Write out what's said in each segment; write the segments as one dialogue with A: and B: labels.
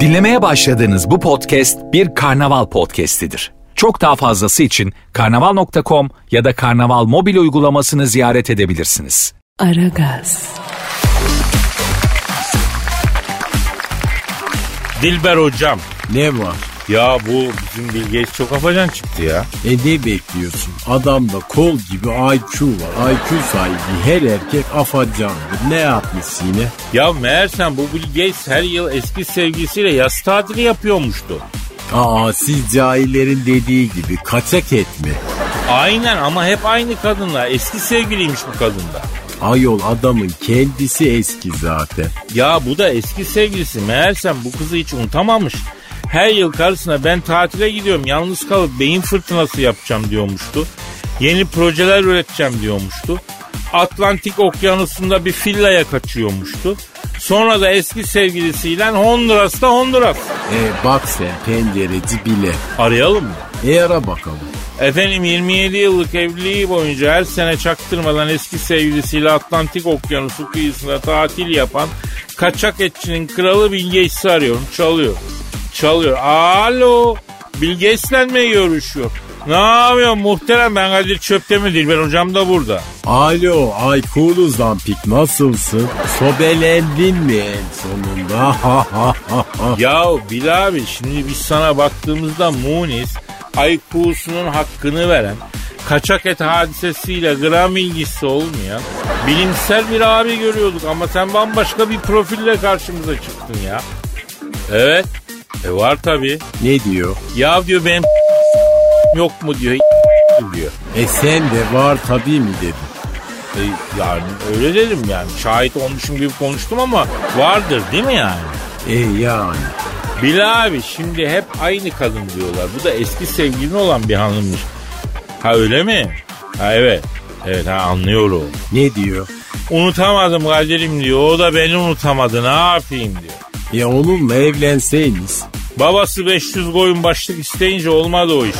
A: Dinlemeye başladığınız bu podcast bir karnaval podcastidir. Çok daha fazlası için karnaval.com ya da karnaval mobil uygulamasını ziyaret edebilirsiniz.
B: Aragaz,
C: Dilber hocam.
D: Ne var?
C: Ya bu bizim bilgeç çok afacan çıktı ya.
D: E ne bekliyorsun? Adamda kol gibi IQ var. IQ sahibi her erkek afacandır. Ne yapmış yine?
C: Ya meğersem bu bilgeç her yıl eski sevgilisiyle yaz tatili yapıyormuştu.
D: Aa siz cahillerin dediği gibi kaçak etme.
C: Aynen ama hep aynı kadınla. Eski sevgiliymiş bu kadında.
D: Ayol adamın kendisi eski zaten.
C: Ya bu da eski sevgilisi. Meğersem bu kızı hiç unutamamış. Her yıl karısına ben tatile gidiyorum yalnız kalıp beyin fırtınası yapacağım diyormuştu. Yeni projeler üreteceğim diyormuştu. Atlantik okyanusunda bir villaya kaçıyormuştu. Sonra da eski sevgilisiyle Honduras'ta Honduras.
D: E bak sen pencereci bile.
C: Arayalım mı?
D: E ara bakalım.
C: Efendim 27 yıllık evliliği boyunca her sene çaktırmadan eski sevgilisiyle Atlantik Okyanusu kıyısında tatil yapan kaçak etçinin kralı Bilgeç'i arıyorum. Çalıyor. Çalıyor. Alo. Bilgeç'le mi görüşüyor? Ne yapıyorsun muhterem ben Kadir Çöp'te mi Dilber hocam da burada.
D: Alo Aykulu Zampik nasılsın? Sobelendin mi en sonunda?
C: Ya Bilal abi şimdi biz sana baktığımızda Munis IQ'sunun hakkını veren kaçak et hadisesiyle gram ilgisi olmayan bilimsel bir abi görüyorduk ama sen bambaşka bir profille karşımıza çıktın ya. Evet. E var tabi.
D: ne diyor?
C: Ya diyor benim yok mu diyor diyor.
D: E sen de var tabii mi dedi.
C: E, yani öyle dedim yani. Şahit olmuşum gibi konuştum ama vardır değil mi yani?
D: E yani.
C: Bilal abi şimdi hep aynı kadın diyorlar. Bu da eski sevgilin olan bir hanımmış. Ha öyle mi? Ha evet. Evet ha anlıyorum.
D: Ne diyor?
C: Unutamadım Kadir'im diyor. O da beni unutamadı ne yapayım diyor.
D: Ya onunla evlenseyiniz.
C: Babası 500 koyun başlık isteyince olmadı o iş.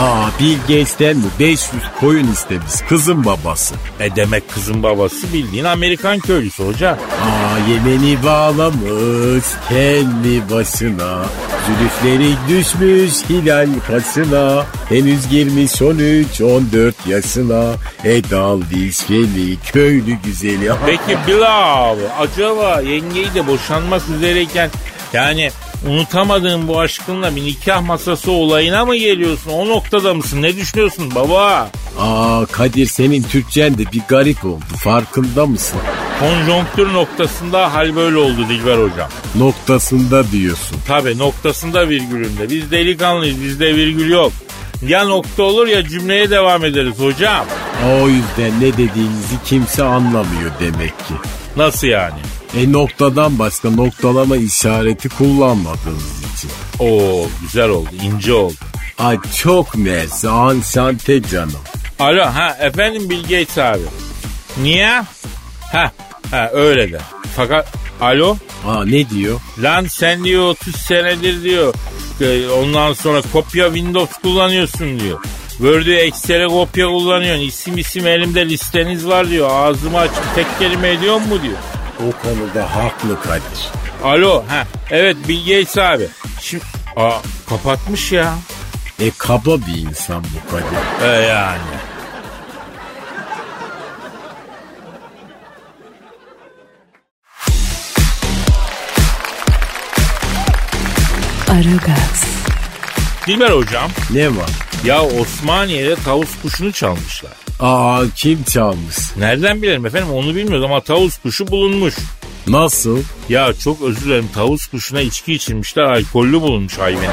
D: Aa Bill Gates'ten mi 500 koyun istemiş kızın babası.
C: E demek kızın babası bildiğin Amerikan köylüsü hoca.
D: Aa Yemeni bağlamış kendi başına. Zülüfleri düşmüş hilal kaşına. Henüz girmiş 13-14 yaşına. Edal dişveli köylü güzeli.
C: Peki Bilal abi acaba yengeyi de boşanmak üzereyken yani unutamadığın bu aşkınla bir nikah masası olayına mı geliyorsun? O noktada mısın? Ne düşünüyorsun baba?
D: Aa Kadir senin Türkçen de bir garip oldu farkında mısın?
C: Konjonktür noktasında hal böyle oldu Dilber hocam.
D: Noktasında diyorsun.
C: Tabi noktasında virgülünde. Biz delikanlıyız bizde virgül yok. Ya nokta olur ya cümleye devam ederiz hocam.
D: O yüzden ne dediğinizi kimse anlamıyor demek ki.
C: Nasıl yani?
D: E noktadan başka noktalama işareti kullanmadığınız için.
C: Oo güzel oldu ince oldu.
D: Ay çok mersi ansante canım.
C: Alo ha efendim Bill Gates abi. Niye? Ha ha öyle de. Fakat alo
D: Aa ne diyor?
C: lan sen diyor 30 senedir diyor. e, Ondan sonra kopya Windows kullanıyorsun diyor. Word'ü Excel'e kopya kullanıyorsun. İsim isim elimde listeniz var diyor. Ağzımı açıp tek kelime ediyor mu diyor.
D: O konuda haklı Kadir.
C: Alo ha evet Bill Gates abi. Şimdi aa, kapatmış ya.
D: E kaba bir insan bu Kadir.
C: E yani.
B: Aragaz,
C: Dilber hocam
D: Ne var?
C: ya Osmaniye'de tavus kuşunu çalmışlar.
D: Aa kim çalmış?
C: Nereden bilelim efendim onu bilmiyoruz ama tavus kuşu bulunmuş.
D: Nasıl?
C: Ya çok özür dilerim tavus kuşuna içki içirmişler alkollü bulunmuş hayvanı.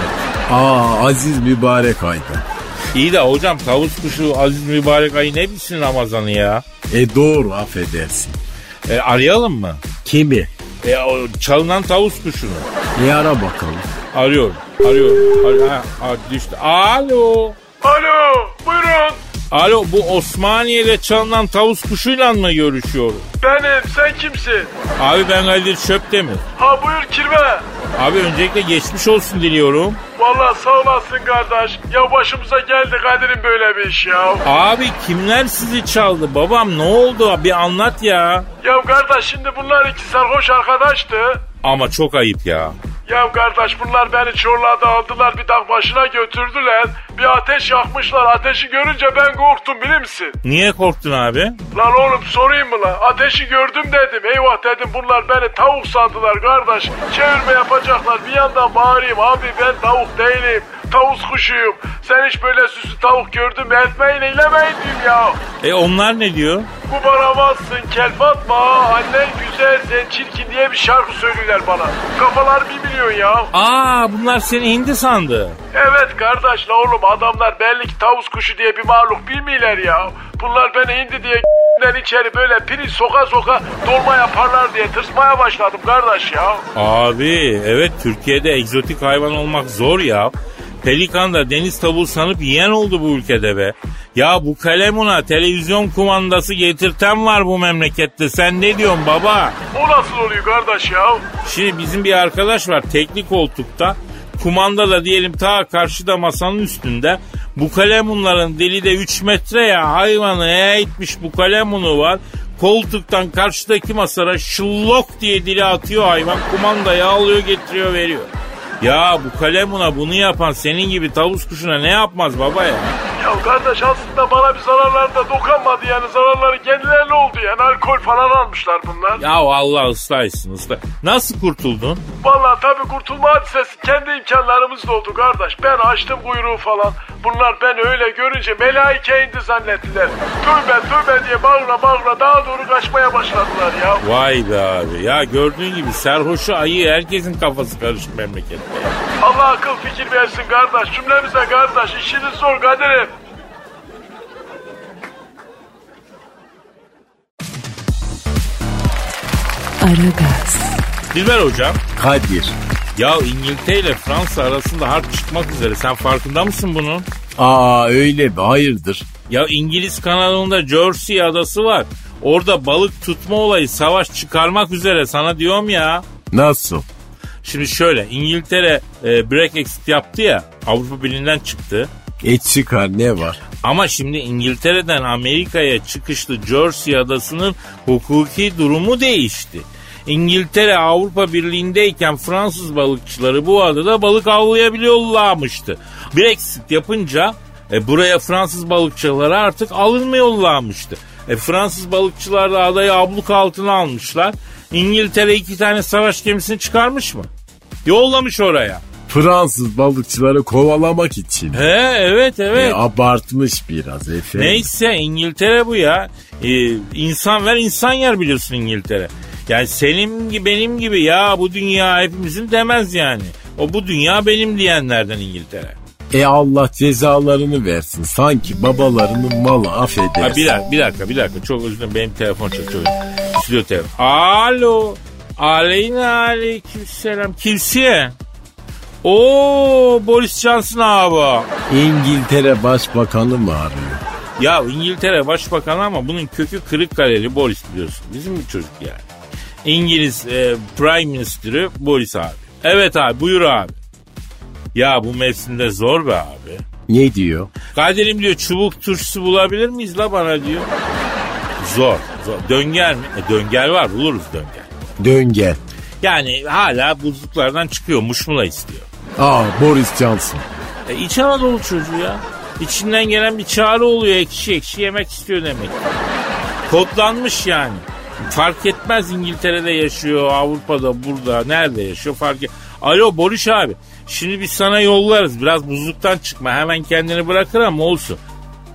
D: Aa Aziz Mübarek Aydan.
C: İyi de hocam tavus kuşu Aziz Mübarek ayı ne bilsin Ramazan'ı ya?
D: E doğru affedersin.
C: E, arayalım mı?
D: Kimi?
C: E, o çalınan tavus kuşunu.
D: E ara bakalım.
C: Arıyorum, arıyorum. Ar- ha, ha, düştü. Alo.
E: Alo buyurun
C: Alo bu Osmaniye'de çalınan tavus kuşuyla mı görüşüyorum?
E: benim sen kimsin?
C: Abi ben Kadir Çöptemir.
E: Ha buyur kirve.
C: Abi öncelikle geçmiş olsun diliyorum.
E: Valla sağ olasın kardeş. Ya başımıza geldi Kadir'in böyle bir iş ya.
C: Abi kimler sizi çaldı? Babam ne oldu? Bir anlat ya.
E: Ya kardeş şimdi bunlar iki sarhoş arkadaştı.
C: Ama çok ayıp ya.
E: Ya kardeş bunlar beni çorladı aldılar bir dağ başına götürdüler. Bir ateş yakmışlar ateşi görünce ben korktum bilir misin?
C: Niye korktun abi?
E: Lan oğlum sorayım mı lan? Ateşi gördüm dedim. Eyvah dedim bunlar beni tavuk sandılar kardeş. Çevirme yapacaklar. Bir yandan bağırayım abi ben tavuk değilim. Tavus kuşuyum. Sen hiç böyle süslü tavuk gördün mü? Etmeyin eylemeyin diyeyim ya.
C: E onlar ne diyor?
E: Bu bana bassın kel Fatma. Annen güzel sen çirkin diye bir şarkı söylüyorlar bana. Kafalar bir milyon ya.
C: Aa bunlar seni hindi sandı.
E: Evet kardeş la oğlum adamlar belli ki tavus kuşu diye bir mahluk bilmiyorlar ya. Bunlar beni hindi diye den içeri böyle piri soka soka dolma yaparlar diye tırsmaya başladım kardeş ya.
C: Abi evet Türkiye'de egzotik hayvan olmak zor ya. Pelikan da deniz tavuğu sanıp yiyen oldu bu ülkede be. Ya bu kalemuna televizyon kumandası getirten var bu memlekette. Sen ne diyorsun baba?
E: O nasıl oluyor kardeş ya?
C: Şimdi bizim bir arkadaş var teknik koltukta. Kumanda da diyelim ta karşıda masanın üstünde. Bu kalemunların dili de 3 metre ya hayvanı eğitmiş bu kalemunu var. Koltuktan karşıdaki masara şıllok diye dili atıyor hayvan. Kumandayı alıyor getiriyor veriyor. Ya bu kalemuna bunu yapan senin gibi tavus kuşuna ne yapmaz baba ya?
E: Ya kardeş aslında bana bir zararlar da dokunmadı yani zararları kendilerine oldu yani alkol falan almışlar bunlar.
C: Ya Allah ıslah etsin ıslah. Nasıl kurtuldun?
E: Vallahi tabii kurtulma hadisesi kendi imkanlarımızla oldu kardeş. Ben açtım kuyruğu falan. Bunlar ben öyle görünce melaike indi zannettiler. Tövbe tövbe diye bağıra bağıra daha doğru kaçmaya başladılar ya.
C: Vay be abi ya gördüğün gibi sarhoşu ayı herkesin kafası karışık memlekette. ya.
E: Allah akıl fikir versin kardeş. Cümlemize kardeş. İşiniz zor kaderim.
B: Aragaz,
C: Dilber hocam.
D: Kadir.
C: Ya İngiltere ile Fransa arasında harp çıkmak üzere. Sen farkında mısın bunun?
D: Aa öyle mi? Hayırdır?
C: Ya İngiliz kanalında Jersey adası var. Orada balık tutma olayı savaş çıkarmak üzere sana diyorum ya.
D: Nasıl?
C: Şimdi şöyle İngiltere e, Brexit yaptı ya Avrupa Birliği'nden çıktı.
D: E çıkar ne var?
C: Ama şimdi İngiltere'den Amerika'ya çıkışlı Jersey adasının hukuki durumu değişti. İngiltere Avrupa Birliği'ndeyken Fransız balıkçıları bu adada balık avlayabiliyorlarmıştı. Brexit yapınca e, buraya Fransız balıkçıları artık alınmıyorlarmıştı. E, Fransız balıkçılar da adayı abluk altına almışlar. İngiltere iki tane savaş gemisini çıkarmış mı? Yollamış oraya.
D: Fransız balıkçıları kovalamak için.
C: He evet evet.
D: E, abartmış biraz efendim.
C: Neyse İngiltere bu ya. Ee, insan ver insan yer biliyorsun İngiltere. Yani senin gibi benim gibi ya bu dünya hepimizin demez yani. O bu dünya benim diyenlerden İngiltere.
D: E Allah cezalarını versin. Sanki babalarının malı affedersin.
C: Ha, bir, dakika, bir dakika bir dakika çok özür dilerim benim telefon çalıyor. Stüdyo telefon. Alo. Aleyna aleyküm selam. Kimsiye? Oo Boris Johnson abi.
D: İngiltere Başbakanı mı arıyor?
C: Ya İngiltere başbakanı ama bunun kökü Kırıkkale'li Boris biliyorsun. Bizim bir çocuk yani. İngiliz e, Prime Minister'ı Boris abi. Evet abi buyur abi. Ya bu mevsimde zor be abi.
D: Ne diyor?
C: Kadir'im diyor çubuk turşusu bulabilir miyiz la bana diyor. Zor. zor. Döngel mi? E, döngel var buluruz döngel.
D: Döngel.
C: Yani hala buzluklardan çıkıyor muşmula istiyor.
D: Aa Boris Johnson.
C: E, İç Anadolu çocuğu ya. İçinden gelen bir çağrı oluyor ekşi ekşi yemek istiyor demek. Kodlanmış yani. Fark etmez İngiltere'de yaşıyor, Avrupa'da, burada, nerede yaşıyor fark et. Alo Boruş abi. Şimdi biz sana yollarız. Biraz buzluktan çıkma. Hemen kendini bırakır ama olsun.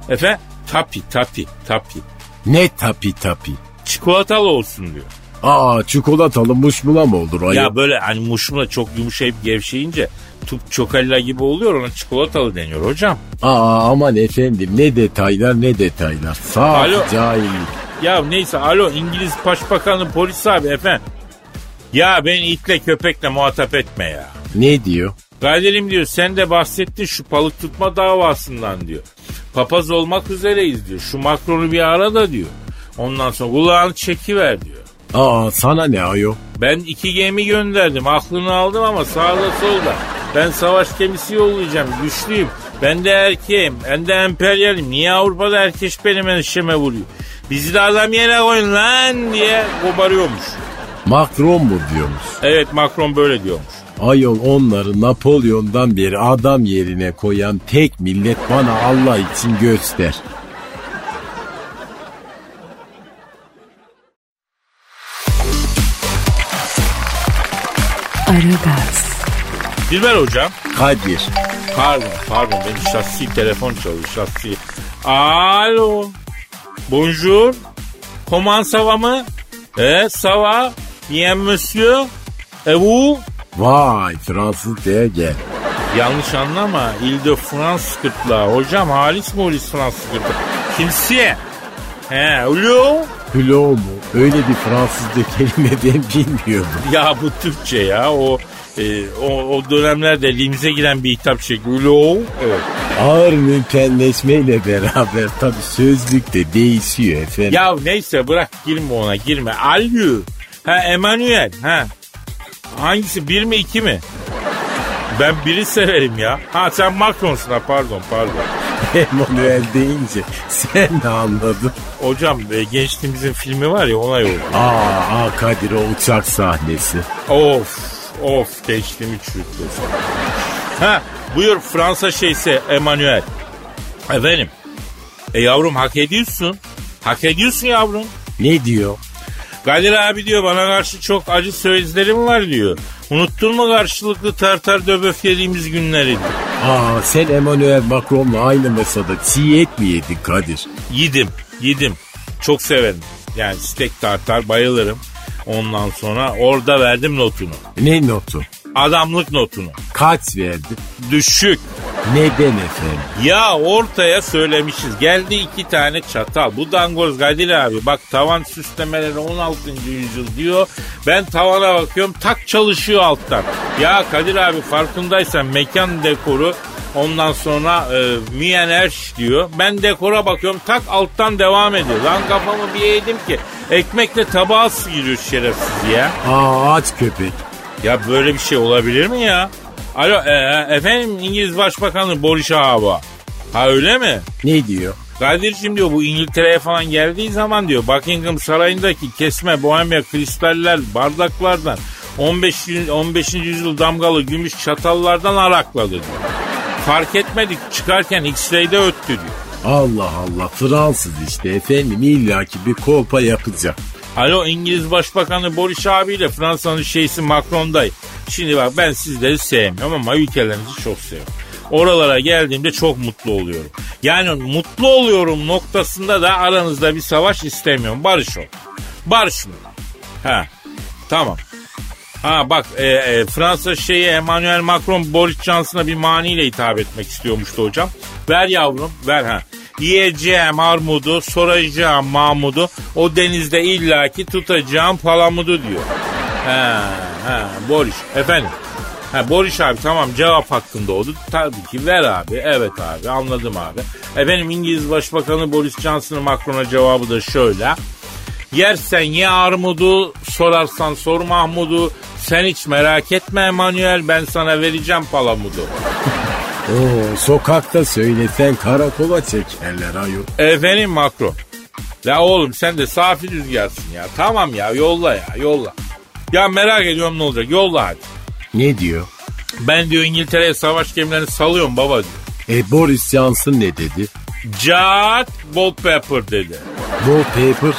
C: Efe tapi tapi tapi.
D: Ne tapi tapi.
C: Çikolatalı olsun diyor.
D: Aa çikolatalı muşmula mı olur ayı?
C: Ya böyle hani muşmula çok yumuşayıp gevşeyince tup çokalla gibi oluyor ona çikolatalı deniyor hocam.
D: Aa aman efendim ne detaylar ne detaylar. Sağ
C: Alo.
D: cahillik.
C: Ya neyse alo İngiliz Başbakanı polis abi efendim. Ya beni itle köpekle muhatap etme ya.
D: Ne diyor?
C: Kadir'im diyor sen de bahsettin şu balık tutma davasından diyor. Papaz olmak üzereyiz diyor. Şu Macron'u bir ara da diyor. Ondan sonra kulağını çekiver diyor.
D: Aa sana ne ayol?
C: Ben iki gemi gönderdim. Aklını aldım ama sağda solda. Ben savaş gemisi yollayacağım. Güçlüyüm. Ben de erkeğim. Ben de emperyalim. Niye Avrupa'da erkeş benim enişeme vuruyor? Bizi de adam yere koyun lan diye koparıyormuş.
D: Macron mu diyormuş?
C: Evet Macron böyle diyormuş.
D: Ayol onları Napolyon'dan beri adam yerine koyan tek millet bana Allah için göster.
B: Aragaz,
C: Dilber hocam.
D: Kadir.
C: Pardon pardon benim şahsi telefon çalıyor şahsi. Alo. Bonjour. Comment ça va mı? E, ça va. Bien monsieur. Et vous?
D: Vay Fransız diye gel.
C: Yanlış anlama. İl de France gırtlağı. Hocam halis molis Fransız gırtlağı. Kimsi? He, alo.
D: Plo mu? Öyle bir Fransızca kelimeden bilmiyordum.
C: Ya bu Türkçe ya. O e, o, o dönemlerde limize giren bir hitap şekli. Alo. Evet.
D: Ağır mümkünleşmeyle beraber tabi sözlük de değişiyor efendim.
C: Ya neyse bırak girme ona girme. Alyu. Ha Emanuel. Ha. Hangisi bir mi iki mi? Ben biri severim ya. Ha sen Macron'sun ha pardon pardon.
D: Emanuel deyince sen de anladın.
C: Hocam e, gençliğimizin filmi var ya ona yol.
D: Aa, aa Kadir o uçak sahnesi.
C: Of of gençliğimi çürüttü. Ha buyur Fransa şeyse Emanuel. Efendim. E yavrum hak ediyorsun. Hak ediyorsun yavrum.
D: Ne diyor?
C: Kadir abi diyor bana karşı çok acı sözlerim var diyor. Unuttun mu karşılıklı tartar döböf yediğimiz günleri? diyor.
D: Aa sen Emanuel Macron'la aynı masada çiğ et mi yedin Kadir?
C: Yedim, yedim. Çok severim. Yani steak tartar bayılırım. Ondan sonra orada verdim notunu.
D: Ne notu?
C: Adamlık notunu.
D: Kaç verdi?
C: Düşük.
D: Neden efendim?
C: Ya ortaya söylemişiz. Geldi iki tane çatal. Bu dangoz Kadir abi bak tavan süslemeleri 16. yüzyıl diyor. Ben tavana bakıyorum tak çalışıyor alttan. Ya Kadir abi farkındaysan mekan dekoru ondan sonra e, Mienerş diyor. Ben dekora bakıyorum tak alttan devam ediyor. Lan kafamı bir eğdim ki ekmekle tabağa sıyırıyor şerefsiz ya.
D: Aa aç köpek.
C: Ya böyle bir şey olabilir mi ya? Alo e, e, efendim İngiliz Başbakanı Boris abi. Ha öyle mi?
D: Ne diyor?
C: Kadir'cim diyor bu İngiltere'ye falan geldiği zaman diyor Buckingham Sarayı'ndaki kesme bohemia kristaller bardaklardan 15. yü- 15. yüzyıl damgalı gümüş çatallardan arakladı diyor. Fark etmedik çıkarken X-ray'de öttü diyor.
D: Allah Allah Fransız işte efendim illaki bir kolpa yapacak.
C: Alo İngiliz Başbakanı Boris abiyle Fransa'nın şeysi Macron'day. Şimdi bak ben sizleri sevmiyorum ama ülkelerinizi çok seviyorum. Oralara geldiğimde çok mutlu oluyorum. Yani mutlu oluyorum noktasında da aranızda bir savaş istemiyorum. Barış ol. Barış mı? Ha. Tamam. Ha bak e, e, Fransa şeyi Emmanuel Macron Boris Johnson'a bir maniyle hitap etmek istiyormuştu hocam. Ver yavrum ver ha. Yiyeceğim armudu, soracağım mamudu, o denizde illaki tutacağım palamudu diyor. Ha, ha, Boris efendim. Ha, Boris abi tamam cevap hakkında oldu. Tabii ki ver abi. Evet abi anladım abi. Efendim İngiliz Başbakanı Boris Johnson'ın Macron'a cevabı da şöyle. Yersen ye armudu, sorarsan sor Mahmud'u. Sen hiç merak etme Emanuel, ben sana vereceğim palamudu.
D: Oo, sokakta söylesen karakola çekerler ayol.
C: Efendim Makro. La oğlum sen de safi rüzgarsın ya. Tamam ya yolla ya yolla. Ya merak ediyorum ne olacak yolla hadi.
D: Ne diyor?
C: Ben diyor İngiltere'ye savaş gemilerini salıyorum baba diyor.
D: E Boris Johnson ne dedi?
C: Cat Wallpaper dedi.
D: Wallpaper.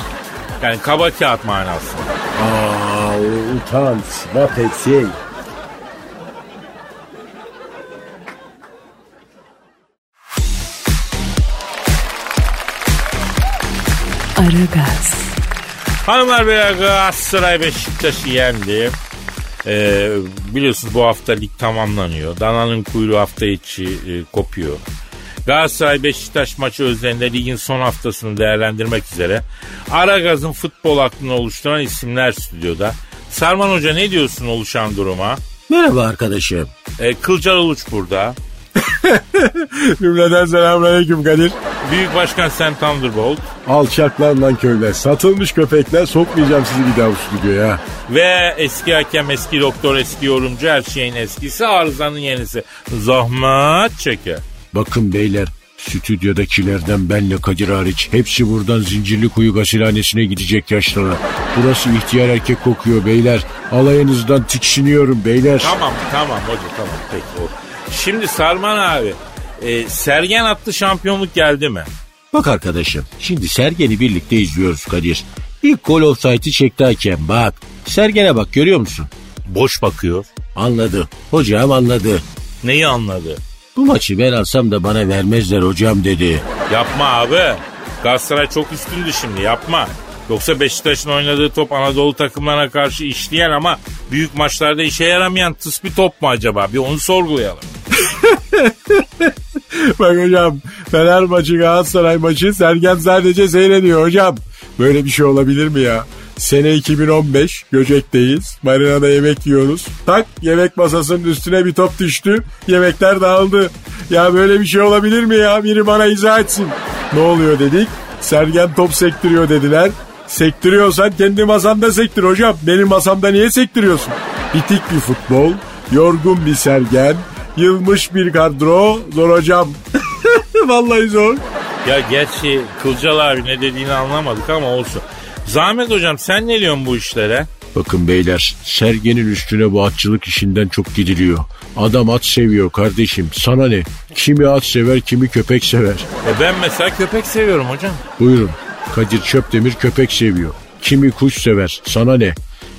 C: Yani kaba kağıt manasında.
D: Aa o utanç. What a şey.
B: Aragaz,
C: Hanımlar beyler Galatasaray Beşiktaş'ı yendi. Ee, biliyorsunuz bu hafta lig tamamlanıyor. Dana'nın kuyruğu hafta içi e, kopuyor. Galatasaray Beşiktaş maçı özelinde ligin son haftasını değerlendirmek üzere Aragaz'ın futbol aklını oluşturan isimler stüdyoda. Sarman Hoca ne diyorsun oluşan duruma?
D: Merhaba arkadaşım.
C: Ee, Kılcal Uluç burada.
D: Cümleden selamünaleyküm Kadir.
C: Büyük Başkan Sam Thunderbolt.
D: Alçaklarla köyler. Satılmış köpekler sokmayacağım sizi bir daha bu stüdyoya.
C: Ve eski hakem, eski doktor, eski yorumcu her şeyin eskisi arızanın yenisi. Zahmet çeker.
D: Bakın beyler Stüdyodakilerden benle Kadir hariç hepsi buradan zincirli kuyu gasilhanesine gidecek yaşlara. Burası ihtiyar erkek kokuyor beyler. Alayınızdan tiksiniyorum beyler.
C: Tamam tamam hoca tamam peki o. Şimdi Sarman abi e, Sergen attı şampiyonluk geldi mi?
D: Bak arkadaşım şimdi Sergen'i birlikte izliyoruz Kadir. İlk gol offside'i çekti hakem bak. Sergen'e bak görüyor musun?
C: Boş bakıyor.
D: Anladı. Hocam anladı.
C: Neyi anladı?
D: Bu maçı ben alsam da bana vermezler hocam dedi.
C: Yapma abi. Galatasaray çok üstündü şimdi yapma. Yoksa Beşiktaş'ın oynadığı top Anadolu takımlarına karşı işleyen ama büyük maçlarda işe yaramayan tıs bir top mu acaba? Bir onu sorgulayalım.
D: Bak hocam Fener maçı Galatasaray maçı Sergen sadece seyrediyor hocam. Böyle bir şey olabilir mi ya? Sene 2015 Göcek'teyiz. Marina'da yemek yiyoruz. Tak yemek masasının üstüne bir top düştü. Yemekler dağıldı. Ya böyle bir şey olabilir mi ya? Biri bana izah etsin. Ne oluyor dedik. Sergen top sektiriyor dediler. Sektiriyorsan kendi masanda sektir hocam. Benim masamda niye sektiriyorsun? Bitik bir futbol, yorgun bir sergen, yılmış bir kadro. Zor hocam. Vallahi zor.
C: Ya gerçi Kılcal abi ne dediğini anlamadık ama olsun. Zahmet hocam sen ne diyorsun bu işlere?
D: Bakın beyler sergenin üstüne bu atçılık işinden çok gidiliyor. Adam at seviyor kardeşim sana ne? Kimi at sever kimi köpek sever.
C: E ben mesela köpek seviyorum hocam.
D: Buyurun Kadir Çöpdemir köpek seviyor. Kimi kuş sever sana ne?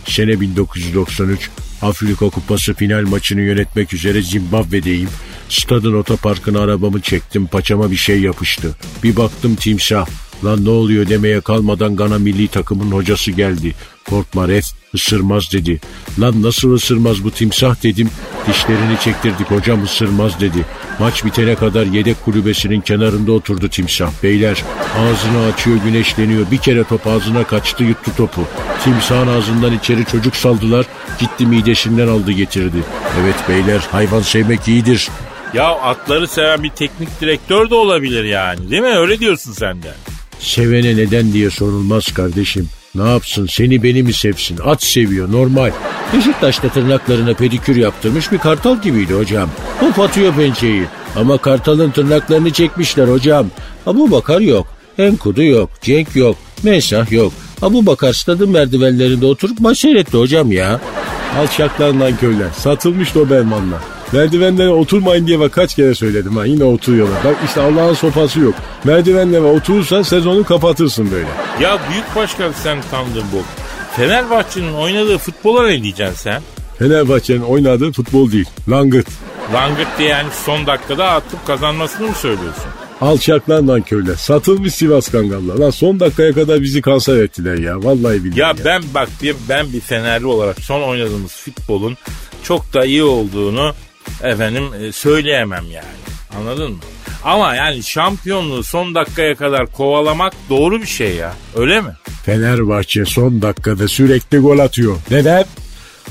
D: Sene 1993 Afrika Kupası final maçını yönetmek üzere Zimbabwe'deyim. Stadın otoparkına arabamı çektim paçama bir şey yapıştı. Bir baktım timsah. Lan ne oluyor demeye kalmadan Gana milli takımın hocası geldi. Korkma ref ısırmaz dedi. Lan nasıl ısırmaz bu timsah dedim. Dişlerini çektirdik hocam ısırmaz dedi. Maç bitene kadar yedek kulübesinin kenarında oturdu timsah. Beyler ağzını açıyor güneşleniyor. Bir kere top ağzına kaçtı yuttu topu. Timsahın ağzından içeri çocuk saldılar. Gitti midesinden aldı getirdi. Evet beyler hayvan sevmek iyidir.
C: Ya atları seven bir teknik direktör de olabilir yani değil mi? Öyle diyorsun sen de.
D: Sevene neden diye sorulmaz kardeşim. Ne yapsın seni beni mi sevsin? At seviyor normal. Beşiktaş'ta tırnaklarına pedikür yaptırmış bir kartal gibiydi hocam. Hop atıyor pençeyi. Ama kartalın tırnaklarını çekmişler hocam. Abu Bakar yok. Enkudu yok. Cenk yok. Mensah yok. Abu Bakar stadın merdivenlerinde oturup maç seyretti hocam ya. Alçaklar lan köyler. Satılmış Dobermanlar. Merdivenlere oturmayın diye bak kaç kere söyledim ha yine oturuyorlar. Bak işte Allah'ın sopası yok. Merdivenlere oturursan sezonu kapatırsın böyle.
C: Ya büyük başkan sen sandın bu. Fenerbahçe'nin oynadığı futbola ne diyeceksin sen?
D: Fenerbahçe'nin oynadığı futbol değil. Langırt.
C: Langırt diye yani son dakikada atıp kazanmasını mı söylüyorsun?
D: Alçaklar lan köyler. Satılmış Sivas Kangallar. Lan son dakikaya kadar bizi kanser ettiler ya. Vallahi billahi.
C: Ya ben bak bir, ben bir Fenerli olarak son oynadığımız futbolun çok da iyi olduğunu efendim e, söyleyemem yani. Anladın mı? Ama yani şampiyonluğu son dakikaya kadar kovalamak doğru bir şey ya. Öyle mi?
D: Fenerbahçe son dakikada sürekli gol atıyor. Neden?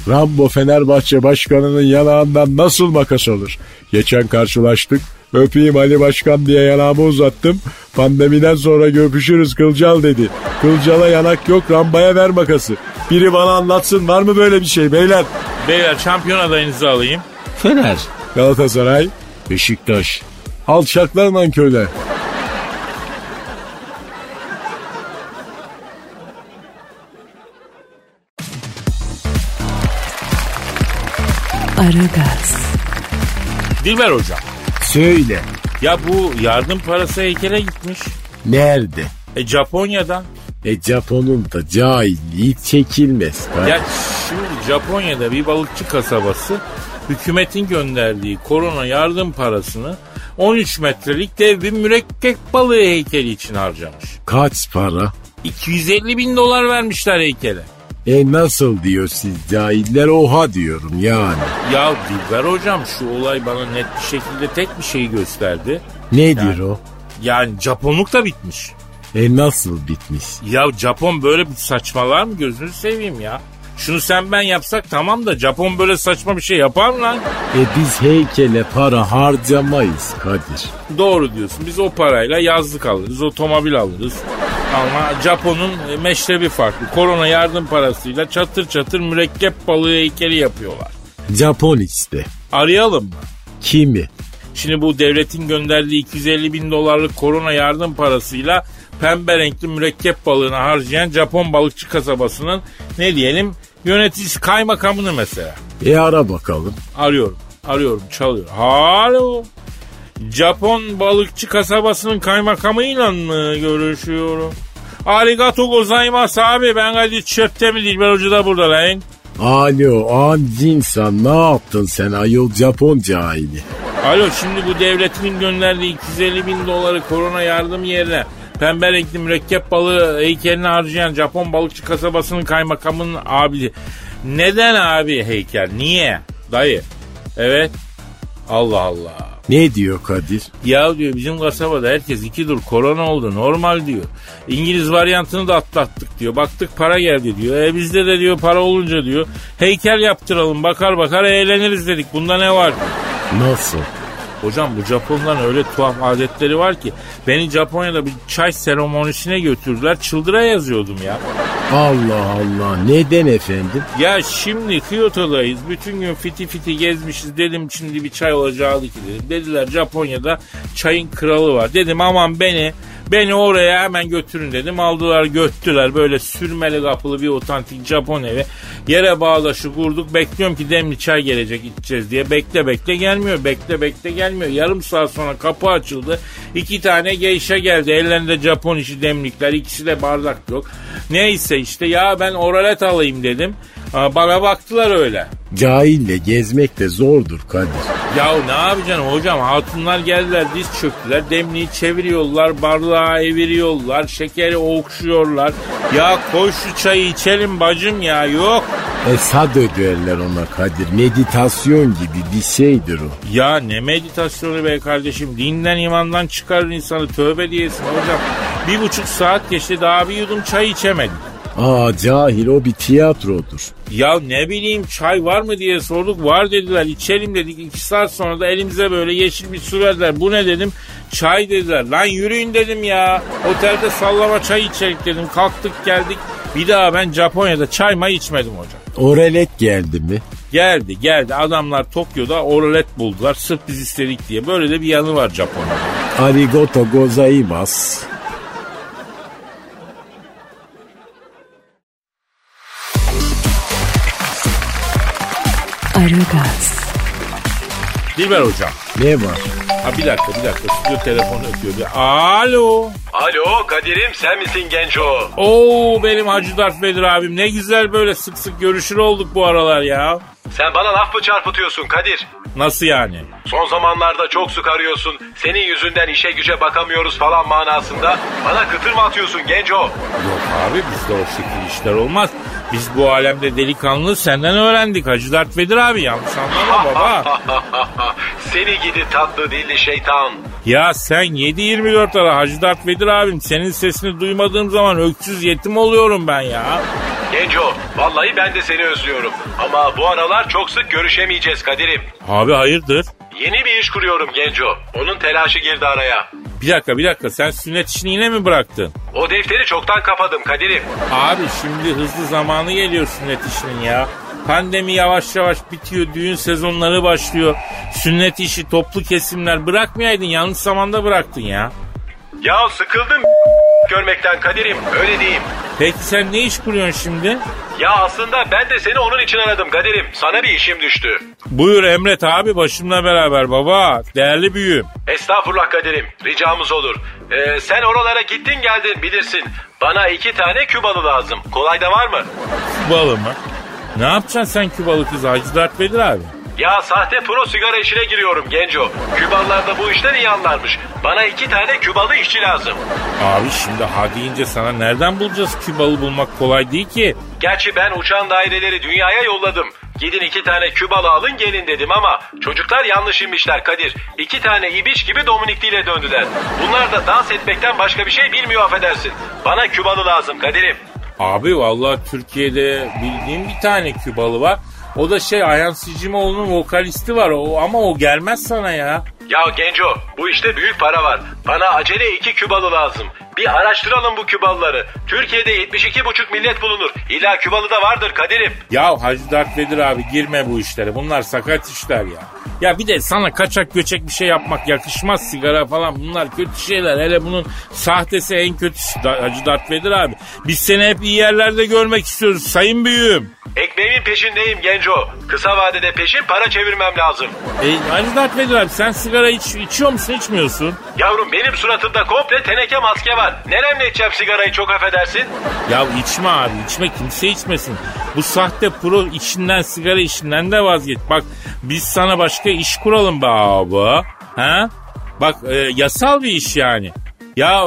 D: Rambo Fenerbahçe başkanının yanağından nasıl makas alır? Geçen karşılaştık. Öpeyim Ali Başkan diye yanağımı uzattım. Pandemiden sonra görüşürüz Kılcal dedi. Kılcal'a yanak yok Ramba'ya ver makası. Biri bana anlatsın var mı böyle bir şey beyler?
C: Beyler şampiyon adayınızı alayım.
D: Fener. Galatasaray. Beşiktaş. Alçaklar nankörler.
B: Aragaz,
C: Dilber hocam.
D: Söyle.
C: Ya bu yardım parası heykele gitmiş.
D: Nerede?
C: E Japonya'dan.
D: E Japon'un da cahilliği çekilmez.
C: Ya şimdi Japonya'da bir balıkçı kasabası hükümetin gönderdiği korona yardım parasını 13 metrelik dev bir mürekkep balığı heykeli için harcamış.
D: Kaç para?
C: 250 bin dolar vermişler heykele.
D: E nasıl diyor siz cahiller oha diyorum yani.
C: Ya Dilber hocam şu olay bana net bir şekilde tek bir şey gösterdi.
D: Nedir o?
C: Yani Japonluk da bitmiş.
D: E nasıl bitmiş?
C: Ya Japon böyle bir saçmalar mı gözünü seveyim ya. Şunu sen ben yapsak tamam da Japon böyle saçma bir şey yapar mı lan?
D: E biz heykele para harcamayız Kadir.
C: Doğru diyorsun. Biz o parayla yazlık alırız, otomobil alırız. Ama Japon'un e, meşrebi farklı. Korona yardım parasıyla çatır çatır mürekkep balığı heykeli yapıyorlar.
D: Japon işte.
C: Arayalım mı?
D: Kimi?
C: Şimdi bu devletin gönderdiği 250 bin dolarlık korona yardım parasıyla pembe renkli mürekkep balığını harcayan Japon balıkçı kasabasının ne diyelim yöneticisi kaymakamını mesela.
D: E ara bakalım.
C: Arıyorum, arıyorum, çalıyor. Alo. Japon balıkçı kasabasının kaymakamıyla mı görüşüyorum? Arigato gozaimasu abi ben Kadir Çöpte mi değil ben hoca da burada lan.
D: Alo Andinsan ne yaptın sen ayol Japon cahili?
C: Alo şimdi bu devletinin gönderdiği 250 bin doları korona yardım yerine pembe renkli mürekkep balığı heykelini harcayan Japon balıkçı kasabasının kaymakamının abisi. Neden abi heykel? Niye? Dayı. Evet. Allah Allah.
D: Ne diyor Kadir?
C: Ya diyor bizim kasabada herkes iki dur korona oldu normal diyor. İngiliz varyantını da atlattık diyor. Baktık para geldi diyor. E bizde de diyor para olunca diyor heykel yaptıralım bakar bakar eğleniriz dedik. Bunda ne var?
D: Nasıl?
C: Hocam bu Japonların öyle tuhaf adetleri var ki beni Japonya'da bir çay seremonisine götürdüler çıldıra yazıyordum ya.
D: Allah Allah neden efendim?
C: Ya şimdi Kyoto'dayız. Bütün gün fiti fiti gezmişiz. Dedim şimdi bir çay olacağı ki dedim. Dediler Japonya'da çayın kralı var. Dedim aman beni beni oraya hemen götürün dedim. Aldılar göttüler böyle sürmeli kapılı bir otantik Japon evi. Yere bağdaşı kurduk. Bekliyorum ki demli çay gelecek içeceğiz diye. Bekle bekle gelmiyor. Bekle bekle gelmiyor. Yarım saat sonra kapı açıldı. İki tane geisha geldi. Ellerinde Japon işi demlikler. İkisi de bardak yok. Neyse işte ya ben oralet alayım dedim. Aa, Bana baktılar öyle.
D: Cahille gezmek de zordur Kadir.
C: Ya ne yapacaksın hocam? Hatunlar geldiler diz çöktüler. Demliği çeviriyorlar, bardağı eviriyorlar, şekeri okşuyorlar. Ya koş şu çayı içelim bacım ya. Yok.
D: Esad derler E, ona Kadir. Meditasyon gibi bir şeydir o.
C: Ya ne meditasyonu be kardeşim. Dinden imandan çıkarır insanı. Tövbe diyesin hocam. Bir buçuk saat geçti daha bir yudum çay içemedim.
D: Aa cahil o bir tiyatrodur.
C: Ya ne bileyim çay var mı diye sorduk. Var dediler içelim dedik. iki saat sonra da elimize böyle yeşil bir su verdiler. Bu ne dedim. Çay dediler. Lan yürüyün dedim ya. Otelde sallama çay içelim dedim. Kalktık geldik. Bir daha ben Japonya'da çay may içmedim hocam.
D: Orelet geldi mi?
C: Geldi geldi adamlar Tokyo'da oralet buldular. Sırf biz istedik diye. Böyle de bir yanı var Japonya'da.
D: Arigoto gozaimasu.
B: Aragaz,
C: Dilber hocam.
D: Ne var?
C: Ha bir dakika bir dakika. Stüdyo telefonu ötüyor. Bir- Alo.
E: Alo Kadir'im sen misin genco?
C: Oo benim Hacı Dert Vedir abim. Ne güzel böyle sık sık görüşür olduk bu aralar ya.
E: Sen bana laf mı çarpıtıyorsun Kadir?
C: Nasıl yani?
E: Son zamanlarda çok sık arıyorsun. Senin yüzünden işe güce bakamıyoruz falan manasında. Bana kıtır mı atıyorsun genco?
C: Yok abi bizde o şekil işler olmaz. Biz bu alemde delikanlı senden öğrendik Hacı Dert Vedir abi yanlış anlama baba.
E: Seni gidi tatlı dilli şeytan.
C: ya sen 7-24 ara Hacı Dert Vedir abim senin sesini duymadığım zaman öksüz yetim oluyorum ben ya.
E: Genco, vallahi ben de seni özlüyorum. Ama bu aralar çok sık görüşemeyeceğiz Kadir'im.
C: Abi hayırdır?
E: Yeni bir iş kuruyorum Genco. Onun telaşı girdi araya.
C: Bir dakika bir dakika sen sünnet işini yine mi bıraktın?
E: O defteri çoktan kapadım Kadir'im.
C: Abi şimdi hızlı zamanı geliyor sünnet işinin ya. Pandemi yavaş yavaş bitiyor, düğün sezonları başlıyor. Sünnet işi toplu kesimler bırakmayaydın, yanlış zamanda bıraktın ya.
E: Ya sıkıldım görmekten Kadir'im. Öyle diyeyim.
C: Peki sen ne iş kuruyorsun şimdi?
E: Ya aslında ben de seni onun için aradım Kadir'im. Sana bir işim düştü.
C: Buyur Emret abi başımla beraber baba. Değerli büyüğüm.
E: Estağfurullah Kadir'im. Ricamız olur. Ee, sen oralara gittin geldin bilirsin. Bana iki tane Kübalı lazım. Kolay da var mı?
C: Kübalı mı? Ne yapacaksın sen Kübalı kız Hacı Dert Vedir abi?
E: Ya sahte pro sigara işine giriyorum Genco. Kübalılar da bu işten iyi anlarmış. Bana iki tane Kübalı işçi lazım.
C: Abi şimdi ha deyince sana nereden bulacağız Kübalı bulmak kolay değil ki.
E: Gerçi ben uçan daireleri dünyaya yolladım. Gidin iki tane Kübalı alın gelin dedim ama çocuklar yanlış inmişler Kadir. İki tane ibiş gibi Dominikli ile döndüler. Bunlar da dans etmekten başka bir şey bilmiyor affedersin. Bana Kübalı lazım Kadir'im.
C: Abi vallahi Türkiye'de bildiğim bir tane Kübalı var. O da şey Ayhan Sicimoğlu'nun vokalisti var o, ama o gelmez sana ya.
E: Ya Genco bu işte büyük para var. Bana acele iki Kübalı lazım. Bir araştıralım bu Kübalıları. Türkiye'de 72,5 millet bulunur. İlla Kübalı da vardır Kadir'im.
C: Ya Hacı Dert Vedir abi girme bu işlere bunlar sakat işler ya. Ya bir de sana kaçak göçek bir şey yapmak yakışmaz sigara falan bunlar kötü şeyler. Hele bunun sahtesi en kötüsü Da- Hacı Dert Vedir abi. Biz seni hep iyi yerlerde görmek istiyoruz sayın büyüğüm.
E: Ekmeğimin peşindeyim genco. Kısa vadede peşin para çevirmem lazım.
C: E, Hacı Dert Vedir abi sen sigara iç, içiyor musun içmiyorsun?
E: Yavrum benim suratımda komple teneke maske var. Neremle içeceğim sigarayı çok affedersin?
C: Ya içme abi içme kimse içmesin. Bu sahte pro işinden sigara işinden de vazgeç. Bak biz sana başka iş kuralım be abi. Ha? Bak e, yasal bir iş yani. Ya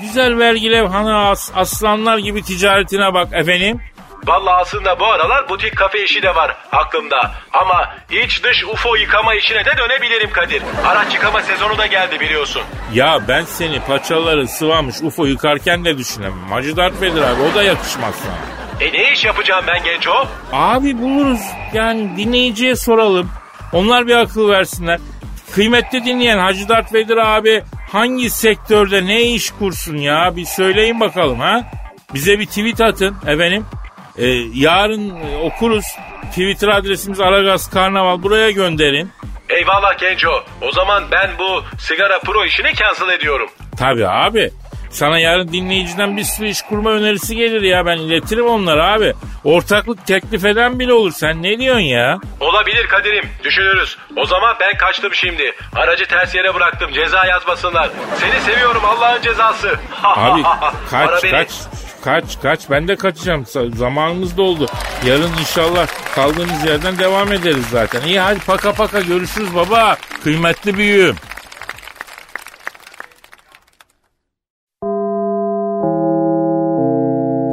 C: güzel vergi levhana as- aslanlar gibi ticaretine bak efendim.
E: Vallahi aslında bu aralar butik kafe işi de var aklımda. Ama iç dış UFO yıkama işine de dönebilirim Kadir. Araç yıkama sezonu da geldi biliyorsun.
C: Ya ben seni paçaları sıvamış UFO yıkarken de düşünemem. Hacı Dert Vedir abi o da yakışmaz sana.
E: E ne iş yapacağım ben genco?
C: Abi buluruz yani dinleyiciye soralım. Onlar bir akıl versinler. Kıymetli dinleyen Hacı Dert Vedir abi hangi sektörde ne iş kursun ya bir söyleyin bakalım ha. Bize bir tweet atın efendim. Ee, yarın e, okuruz. Twitter adresimiz Aragaz Karnaval buraya gönderin.
E: Eyvallah genco. O zaman ben bu sigara pro işini cancel ediyorum.
C: Tabii abi. Sana yarın dinleyiciden bir sürü iş kurma önerisi gelir ya ben iletirim onlara abi. Ortaklık teklif eden bile olur sen ne diyorsun ya?
E: Olabilir Kadir'im. Düşünürüz. O zaman ben kaçtım şimdi. Aracı ters yere bıraktım. Ceza yazmasınlar. Seni seviyorum Allah'ın cezası.
C: Abi
E: Ara
C: kaç
E: beni.
C: kaç kaç kaç ben de kaçacağım Sa- zamanımız doldu. Yarın inşallah kaldığımız yerden devam ederiz zaten. İyi hadi paka paka görüşürüz baba kıymetli büyüğüm.